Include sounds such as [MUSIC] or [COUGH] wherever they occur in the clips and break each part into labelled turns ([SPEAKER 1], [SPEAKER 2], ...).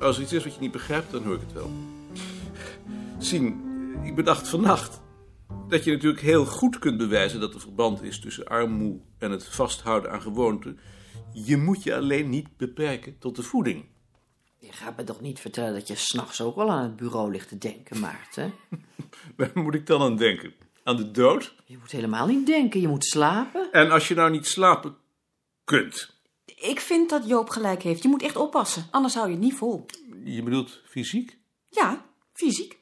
[SPEAKER 1] Als er iets is wat je niet begrijpt, dan hoor ik het wel. Sien, ik bedacht vannacht dat je natuurlijk heel goed kunt bewijzen dat er verband is tussen armoe en het vasthouden aan gewoonten. Je moet je alleen niet beperken tot de voeding. [LAUGHS]
[SPEAKER 2] Je gaat me toch niet vertellen dat je s'nachts ook wel aan het bureau ligt te denken, Maarten?
[SPEAKER 1] Waar moet ik dan aan denken? Aan de dood?
[SPEAKER 2] Je moet helemaal niet denken, je moet slapen.
[SPEAKER 1] En als je nou niet slapen kunt,
[SPEAKER 3] Ik vind dat Joop gelijk heeft. Je moet echt oppassen, anders hou je het niet vol.
[SPEAKER 1] je bedoelt fysiek?
[SPEAKER 3] Ja, fysiek.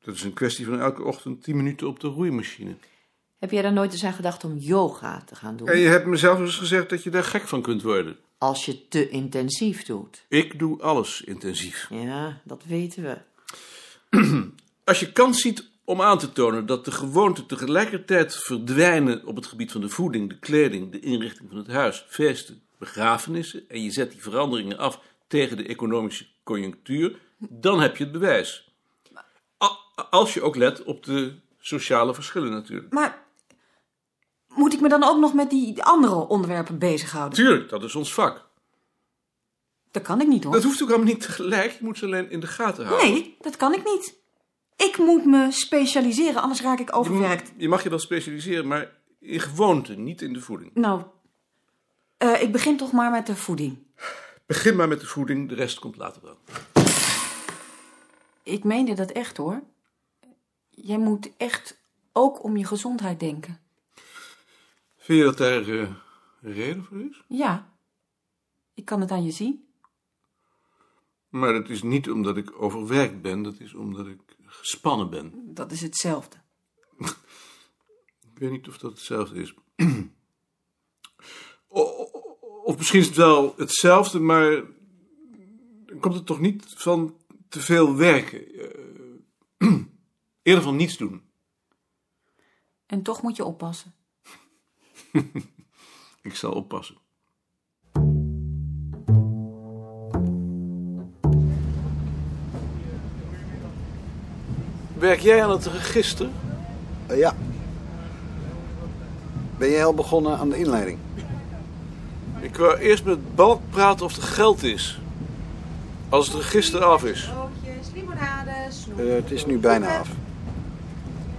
[SPEAKER 1] Dat is een kwestie van elke ochtend 10 minuten op de roeimachine.
[SPEAKER 2] Heb jij daar nooit eens aan gedacht om yoga te gaan doen?
[SPEAKER 1] En je hebt mezelf eens gezegd dat je daar gek van kunt worden.
[SPEAKER 2] Als je het te intensief doet.
[SPEAKER 1] Ik doe alles intensief.
[SPEAKER 2] Ja, dat weten we.
[SPEAKER 1] Als je kans ziet om aan te tonen dat de gewoonten tegelijkertijd verdwijnen op het gebied van de voeding, de kleding, de inrichting van het huis, feesten, begrafenissen, en je zet die veranderingen af tegen de economische conjunctuur, dan heb je het bewijs. A- Als je ook let op de sociale verschillen natuurlijk.
[SPEAKER 3] Maar moet ik me dan ook nog met die andere onderwerpen bezighouden?
[SPEAKER 1] Tuurlijk, dat is ons vak.
[SPEAKER 3] Dat kan ik niet hoor.
[SPEAKER 1] Dat hoeft ook allemaal niet tegelijk, je moet ze alleen in de gaten houden.
[SPEAKER 3] Nee, dat kan ik niet. Ik moet me specialiseren, anders raak ik
[SPEAKER 1] Je moet-
[SPEAKER 3] overwerkt.
[SPEAKER 1] Je mag je wel specialiseren, maar in gewoonten, niet in de voeding.
[SPEAKER 3] Nou, eh, ik begin toch maar met de voeding.
[SPEAKER 1] Begin maar met de voeding, de rest komt later wel.
[SPEAKER 3] Ik meende dat echt hoor. Jij moet echt ook om je gezondheid denken.
[SPEAKER 1] Vind je dat daar eh, een reden voor is?
[SPEAKER 3] Ja, ik kan het aan je zien.
[SPEAKER 1] Maar dat is niet omdat ik overwerkt ben, dat is omdat ik gespannen ben.
[SPEAKER 3] Dat is hetzelfde.
[SPEAKER 1] Ik weet niet of dat hetzelfde is. [CLEARS THROAT] O- o- of misschien is het wel hetzelfde, maar dan komt het toch niet van te veel werken. Eh, [CLEARS THROAT] eerder van niets doen.
[SPEAKER 3] En toch moet je oppassen.
[SPEAKER 1] Ik zal oppassen. Werk jij aan het register?
[SPEAKER 4] Eh, ja. Ben jij al begonnen aan de inleiding?
[SPEAKER 1] Ik wou eerst met Balk praten of er geld is. Als het register af is.
[SPEAKER 5] Broodjes, limonade, snoep.
[SPEAKER 4] Eh, het is nu bijna af.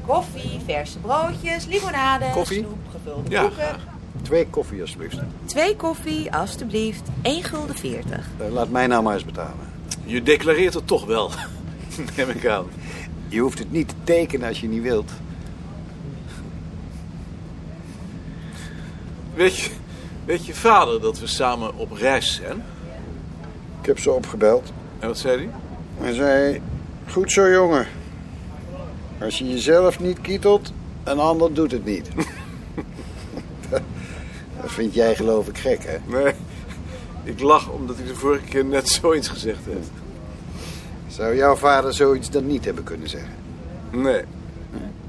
[SPEAKER 5] Koffie, verse broodjes, limonade,
[SPEAKER 4] Koffie?
[SPEAKER 5] snoep, gevulde
[SPEAKER 1] Ja,
[SPEAKER 5] koeken.
[SPEAKER 4] Twee koffie alsjeblieft.
[SPEAKER 5] Twee koffie, alstublieft. 1 gulden 40.
[SPEAKER 4] Eh, laat mij nou maar eens betalen.
[SPEAKER 1] Je declareert het toch wel, [LAUGHS] neem ik aan.
[SPEAKER 4] Je hoeft het niet te tekenen als je niet wilt.
[SPEAKER 1] Weet je, weet je vader dat we samen op reis zijn?
[SPEAKER 4] Ik heb ze opgebeld.
[SPEAKER 1] En wat zei hij?
[SPEAKER 4] Hij zei, goed zo jongen. Als je jezelf niet kietelt, een ander doet het niet. [LAUGHS] dat vind jij geloof ik gek, hè?
[SPEAKER 1] Nee, ik lach omdat hij de vorige keer net zoiets gezegd heeft.
[SPEAKER 4] Zou jouw vader zoiets dan niet hebben kunnen zeggen?
[SPEAKER 1] Nee,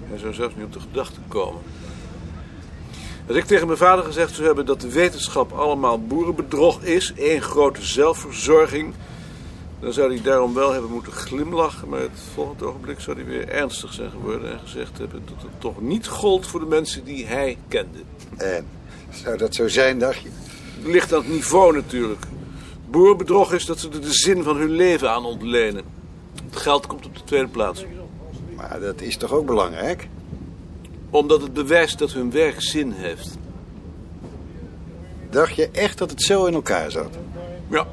[SPEAKER 1] hij zou zelfs niet op de gedachte komen. Als ik tegen mijn vader gezegd zou hebben dat de wetenschap allemaal boerenbedrog is, één grote zelfverzorging, dan zou hij daarom wel hebben moeten glimlachen, maar het volgende ogenblik zou hij weer ernstig zijn geworden en gezegd hebben dat het toch niet gold voor de mensen die hij kende.
[SPEAKER 4] En zou dat zo zijn, dacht je?
[SPEAKER 1] Het ligt aan het niveau natuurlijk. Boerenbedrog is dat ze er de zin van hun leven aan ontlenen. Het geld komt op de tweede plaats,
[SPEAKER 4] Maar dat is toch ook belangrijk?
[SPEAKER 1] omdat het bewijst dat hun werk zin heeft.
[SPEAKER 4] Dacht je echt dat het zo in elkaar zat?
[SPEAKER 1] Ja.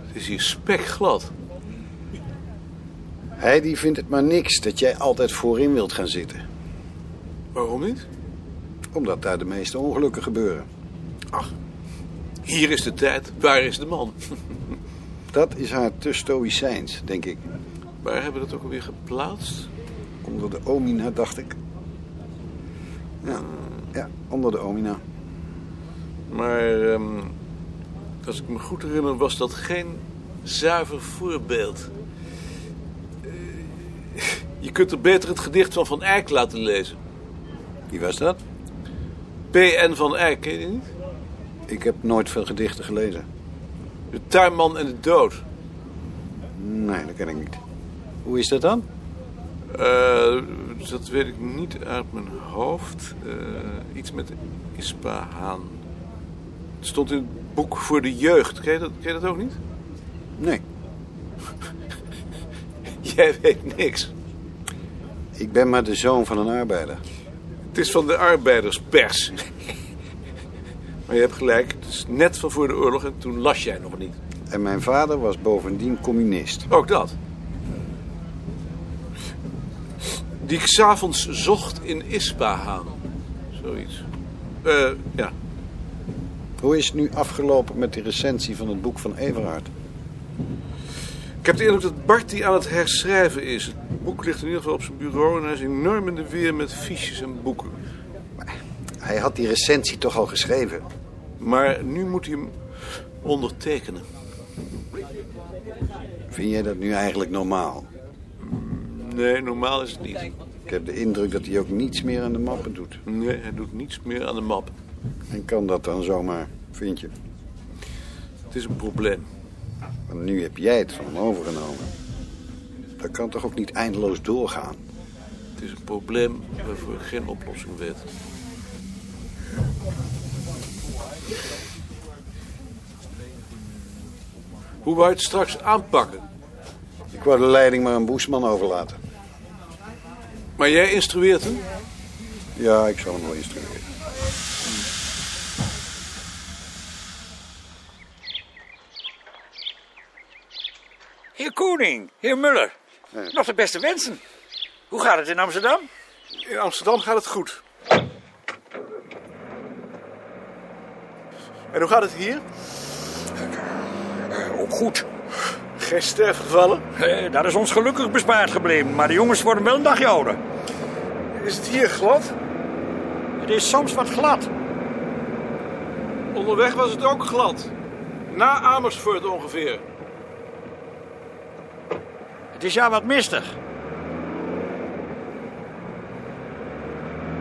[SPEAKER 1] Het is hier spekglad.
[SPEAKER 4] Hij die vindt het maar niks dat jij altijd voorin wilt gaan zitten.
[SPEAKER 1] Waarom niet?
[SPEAKER 4] Omdat daar de meeste ongelukken gebeuren.
[SPEAKER 1] Ach, hier is de tijd, waar is de man?
[SPEAKER 4] Dat is haar te stoïcijns, denk ik.
[SPEAKER 1] Waar hebben we dat ook alweer geplaatst?
[SPEAKER 4] Onder de omina, dacht ik. Ja, ja onder de omina.
[SPEAKER 1] Maar ehm, als ik me goed herinner, was dat geen zuiver voorbeeld. Eh, Je kunt er beter het gedicht van Van Eyck laten lezen.
[SPEAKER 4] Wie was dat?
[SPEAKER 1] PN van Eyck, ken je die niet?
[SPEAKER 4] Ik heb nooit veel gedichten gelezen.
[SPEAKER 1] De tuinman en de dood.
[SPEAKER 4] Nee, dat ken ik niet. Hoe is dat dan?
[SPEAKER 1] Eh, dat weet ik niet uit mijn hoofd. Eh, iets met Ispahan. Het stond in het boek voor de jeugd. Ken je dat, ken je dat ook niet?
[SPEAKER 4] Nee,
[SPEAKER 1] [LAUGHS] Jij weet niks.
[SPEAKER 4] ik ben maar de zoon van een arbeider.
[SPEAKER 1] Het is van de arbeiderspers. [LAUGHS] maar je hebt gelijk, het is net van voor de oorlog en toen las jij nog niet.
[SPEAKER 4] En mijn vader was bovendien communist.
[SPEAKER 1] Ook dat. Die ik s'avonds zocht in Ispahan. Zoiets. Eh, ja.
[SPEAKER 4] Hoe is het nu afgelopen met de recensie van het boek van Everhard?
[SPEAKER 1] Ik heb de indruk dat Bart die aan het herschrijven is. Het boek ligt in ieder geval op zijn bureau en hij is enorm in de weer met fiches en boeken.
[SPEAKER 4] Hij had die recensie toch al geschreven?
[SPEAKER 1] Maar nu moet hij hem ondertekenen.
[SPEAKER 4] Vind jij dat nu eigenlijk normaal?
[SPEAKER 1] Nee, normaal is het niet.
[SPEAKER 4] Ik heb de indruk dat hij ook niets meer aan de mappen doet.
[SPEAKER 1] Nee, hij doet niets meer aan de map.
[SPEAKER 4] En kan dat dan zomaar, vind je?
[SPEAKER 1] Het is een probleem.
[SPEAKER 4] Want nu heb jij het van hem overgenomen. Dat kan toch ook niet eindeloos doorgaan?
[SPEAKER 1] Het is een probleem waarvoor ik geen oplossing weet. Hoe wou je het straks aanpakken?
[SPEAKER 4] Ik wou de leiding maar aan Boesman overlaten.
[SPEAKER 1] Maar jij instrueert hem?
[SPEAKER 4] Ja, ik zal hem wel instrueren.
[SPEAKER 6] Heer Koning, heer Muller. Nog de beste wensen. Hoe gaat het in Amsterdam?
[SPEAKER 1] In Amsterdam gaat het goed. En hoe gaat het hier?
[SPEAKER 6] ook goed.
[SPEAKER 1] Geen sterfgevallen?
[SPEAKER 6] Eh, dat is ons gelukkig bespaard gebleven, maar de jongens worden wel een dagje ouder.
[SPEAKER 1] Is het hier glad?
[SPEAKER 6] Het is soms wat glad.
[SPEAKER 1] Onderweg was het ook glad. Na Amersfoort ongeveer.
[SPEAKER 6] Het is ja wat mistig.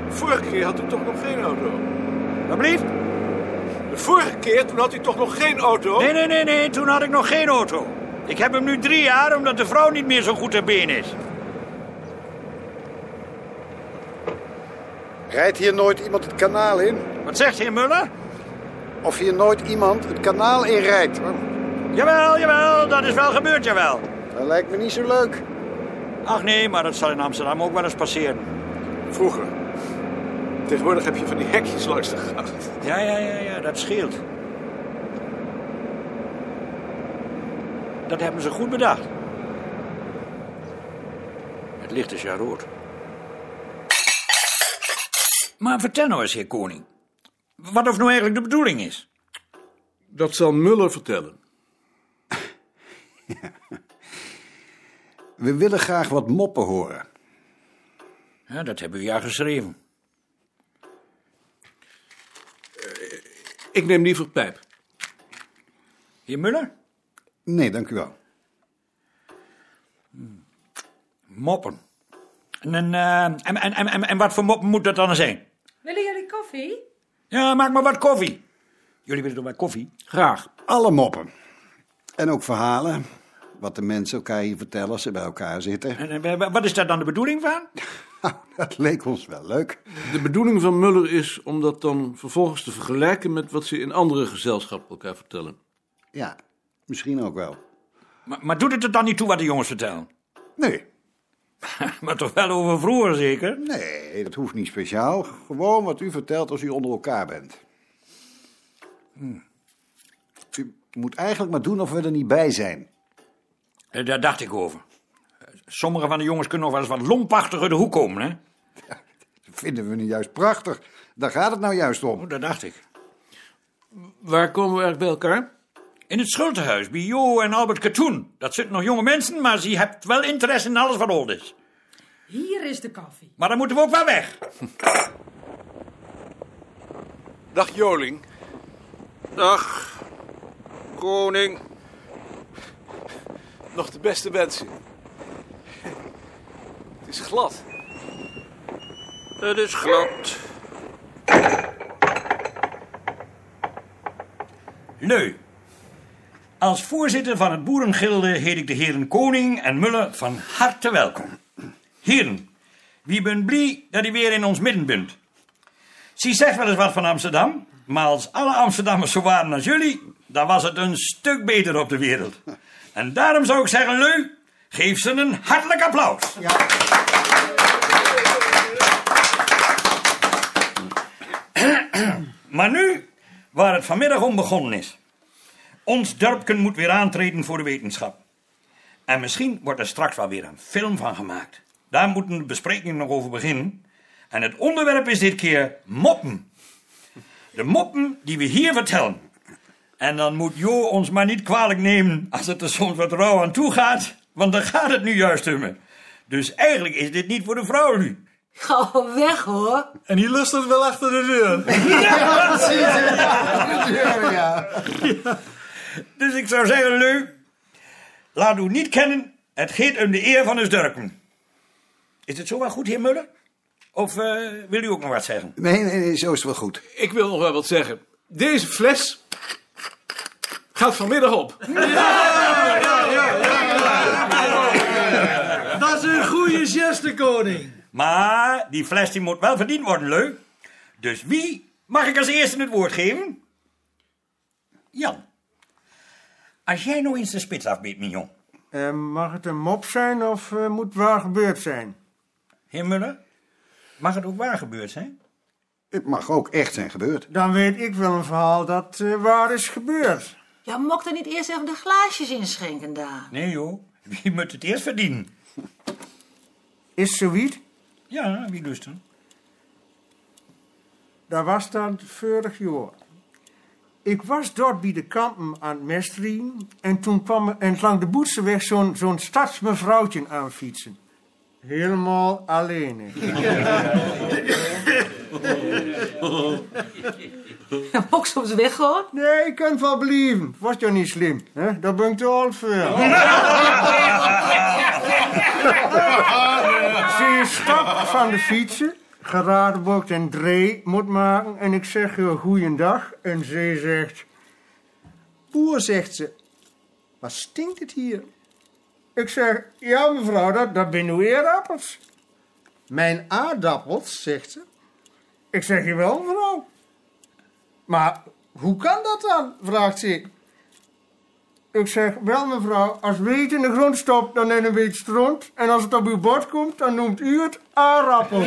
[SPEAKER 1] Vorige keer had u toch nog geen auto?
[SPEAKER 6] Wat blieft?
[SPEAKER 1] De vorige keer, toen had u toch nog geen auto?
[SPEAKER 6] Nee, nee, nee, nee, toen had ik nog geen auto. Ik heb hem nu drie jaar omdat de vrouw niet meer zo goed ter been is.
[SPEAKER 4] Rijdt hier nooit iemand het kanaal in?
[SPEAKER 6] Wat zegt heer Muller?
[SPEAKER 4] Of hier nooit iemand het kanaal in rijdt?
[SPEAKER 6] Jawel, jawel, dat is wel gebeurd, jawel.
[SPEAKER 4] Dat lijkt me niet zo leuk.
[SPEAKER 6] Ach nee, maar dat zal in Amsterdam ook wel eens passeren.
[SPEAKER 1] Vroeger. Tegenwoordig heb je van die hekjes langs de gracht.
[SPEAKER 6] Ja, ja, ja, ja, dat scheelt. Dat hebben ze goed bedacht. Het licht is ja rood. Maar vertel nou eens, heer Koning. Wat of nou eigenlijk de bedoeling is?
[SPEAKER 1] Dat zal Muller vertellen.
[SPEAKER 4] We willen graag wat moppen horen.
[SPEAKER 6] Ja, dat hebben we ja geschreven.
[SPEAKER 1] Ik neem liever pijp.
[SPEAKER 6] Heer Muller?
[SPEAKER 4] Nee, dank u wel.
[SPEAKER 6] Moppen. En, en, eh, en, en, en, en- en wat voor moppen moet dat dan zijn?
[SPEAKER 7] Willen jullie koffie?
[SPEAKER 6] Ja, maak maar wat koffie. Jullie willen toch wat koffie?
[SPEAKER 1] Graag.
[SPEAKER 4] Alle moppen. En ook verhalen. Wat de mensen elkaar hier vertellen als ze bij elkaar zitten. [LAUGHS]
[SPEAKER 6] En, en wa- wat is daar dan de bedoeling van?
[SPEAKER 4] Nou, dat leek ons wel leuk.
[SPEAKER 1] De bedoeling van Muller is om dat dan vervolgens te vergelijken met wat ze in andere gezelschappen elkaar vertellen.
[SPEAKER 4] Ja, misschien ook wel.
[SPEAKER 6] Maar, maar doet het er dan niet toe wat de jongens vertellen? [LAUGHS]
[SPEAKER 4] Nee,
[SPEAKER 6] Maar toch wel over vroeger, zeker?
[SPEAKER 4] nee, dat hoeft niet speciaal. Gewoon wat u vertelt als u onder elkaar bent. Hmm. U moet eigenlijk maar doen of we er niet bij zijn.
[SPEAKER 6] Eh, Daar dacht ik over. Eh, Sommige van de jongens kunnen nog wel eens wat lompachtiger de hoek komen, hè?
[SPEAKER 4] Dat vinden we nu juist prachtig. Daar gaat het nou juist om.
[SPEAKER 6] Oh, dat dacht ik.
[SPEAKER 1] Waar komen we eigenlijk bij elkaar?
[SPEAKER 6] In het schuldenhuis, bij Jo en Albert Katoen. Dat zitten nog jonge mensen, maar ze hebben wel interesse in alles wat old is.
[SPEAKER 7] Hier is de koffie.
[SPEAKER 6] Maar dan moeten we ook wel weg.
[SPEAKER 1] Dag Joling.
[SPEAKER 8] Dag, koning.
[SPEAKER 1] Nog de beste wensen. Het is glad.
[SPEAKER 8] Het is glad.
[SPEAKER 6] Leu. Als voorzitter van het Boerengilde heet ik de heren Koning en Muller van harte welkom. Heren, wie ben blij dat u weer in ons midden bent. Zie zegt wel eens wat van Amsterdam, Maar als alle Amsterdammers zo waren als jullie, dan was het een stuk beter op de wereld. En daarom zou ik zeggen, Leu, geef ze een hartelijk applaus. Maar nu, waar het vanmiddag om begonnen is. Ons dorpken moet weer aantreden voor de wetenschap. En misschien wordt er straks wel weer een film van gemaakt. Daar moeten de besprekingen nog over beginnen. En het onderwerp is dit keer moppen. De moppen die we hier vertellen. En dan moet Jo ons maar niet kwalijk nemen als het er soms wat rauw aan toe gaat. Want dan gaat het nu juist om. Dus eigenlijk is dit niet voor de vrouw nu.
[SPEAKER 9] Ga weg
[SPEAKER 3] [LAUGHS]
[SPEAKER 9] hoor.
[SPEAKER 10] En die lust het wel achter de deur.
[SPEAKER 6] Dus ik zou zeggen, Leu, laat u niet kennen. Het gaat om de eer van ons Durken. Is het zo wel goed, heer Muller? Of eh, wil u ook nog wat zeggen?
[SPEAKER 4] Nee, nee, nee, zo is het wel goed.
[SPEAKER 10] Ik wil nog wel wat zeggen. Deze fles gaat vanmiddag op.
[SPEAKER 11] Dat is een goede geste, koning.
[SPEAKER 6] Maar die fles die moet wel verdiend worden, Leu. Dus wie mag ik als eerste het woord geven? Jan. Als jij nou eens de spits afbeet, mignon.
[SPEAKER 11] Eh, mag het een mop zijn of eh, moet het waar gebeurd zijn?
[SPEAKER 6] Heer Muller, mag het ook waar gebeurd zijn?
[SPEAKER 4] Het mag ook echt zijn gebeurd.
[SPEAKER 11] Dan weet ik wel een verhaal dat eh, waar is gebeurd.
[SPEAKER 9] Ja, mocht er niet eerst even de glaasjes inschenken daar.
[SPEAKER 6] Nee, joh. Wie moet het eerst verdienen?
[SPEAKER 11] Is zoiets?
[SPEAKER 6] Ja, wie lust dan?
[SPEAKER 11] Daar was dan vorig jaar. Ik was daar bij de kampen aan het mestriem en toen kwam er en langs de Boetseweg zo'n zo'n stadsmevrouwtje aan fietsen. Helemaal alleen. hè.
[SPEAKER 9] Ja, ook soms weg hoor.
[SPEAKER 11] Nee, ik kan het wel blijven. Was toch niet slim, hè? Daar ben ik te oud voor. [LAUGHS] Ze is stapt van de fietsen, geradenbokt en dree moet maken. En ik zeg je goeiedag. En ze zegt... Boer, zegt ze. Wat stinkt het hier? Ik zeg, ja mevrouw, dat, dat ben uw eerappels. Mijn aardappels, zegt ze. Ik zeg, jawel mevrouw. Maar hoe kan dat dan? vraagt ze. Ik zeg, wel mevrouw, als weet in de grond stopt, dan neemt een beetje stront. En als het op uw bord komt, dan noemt u het aardappel.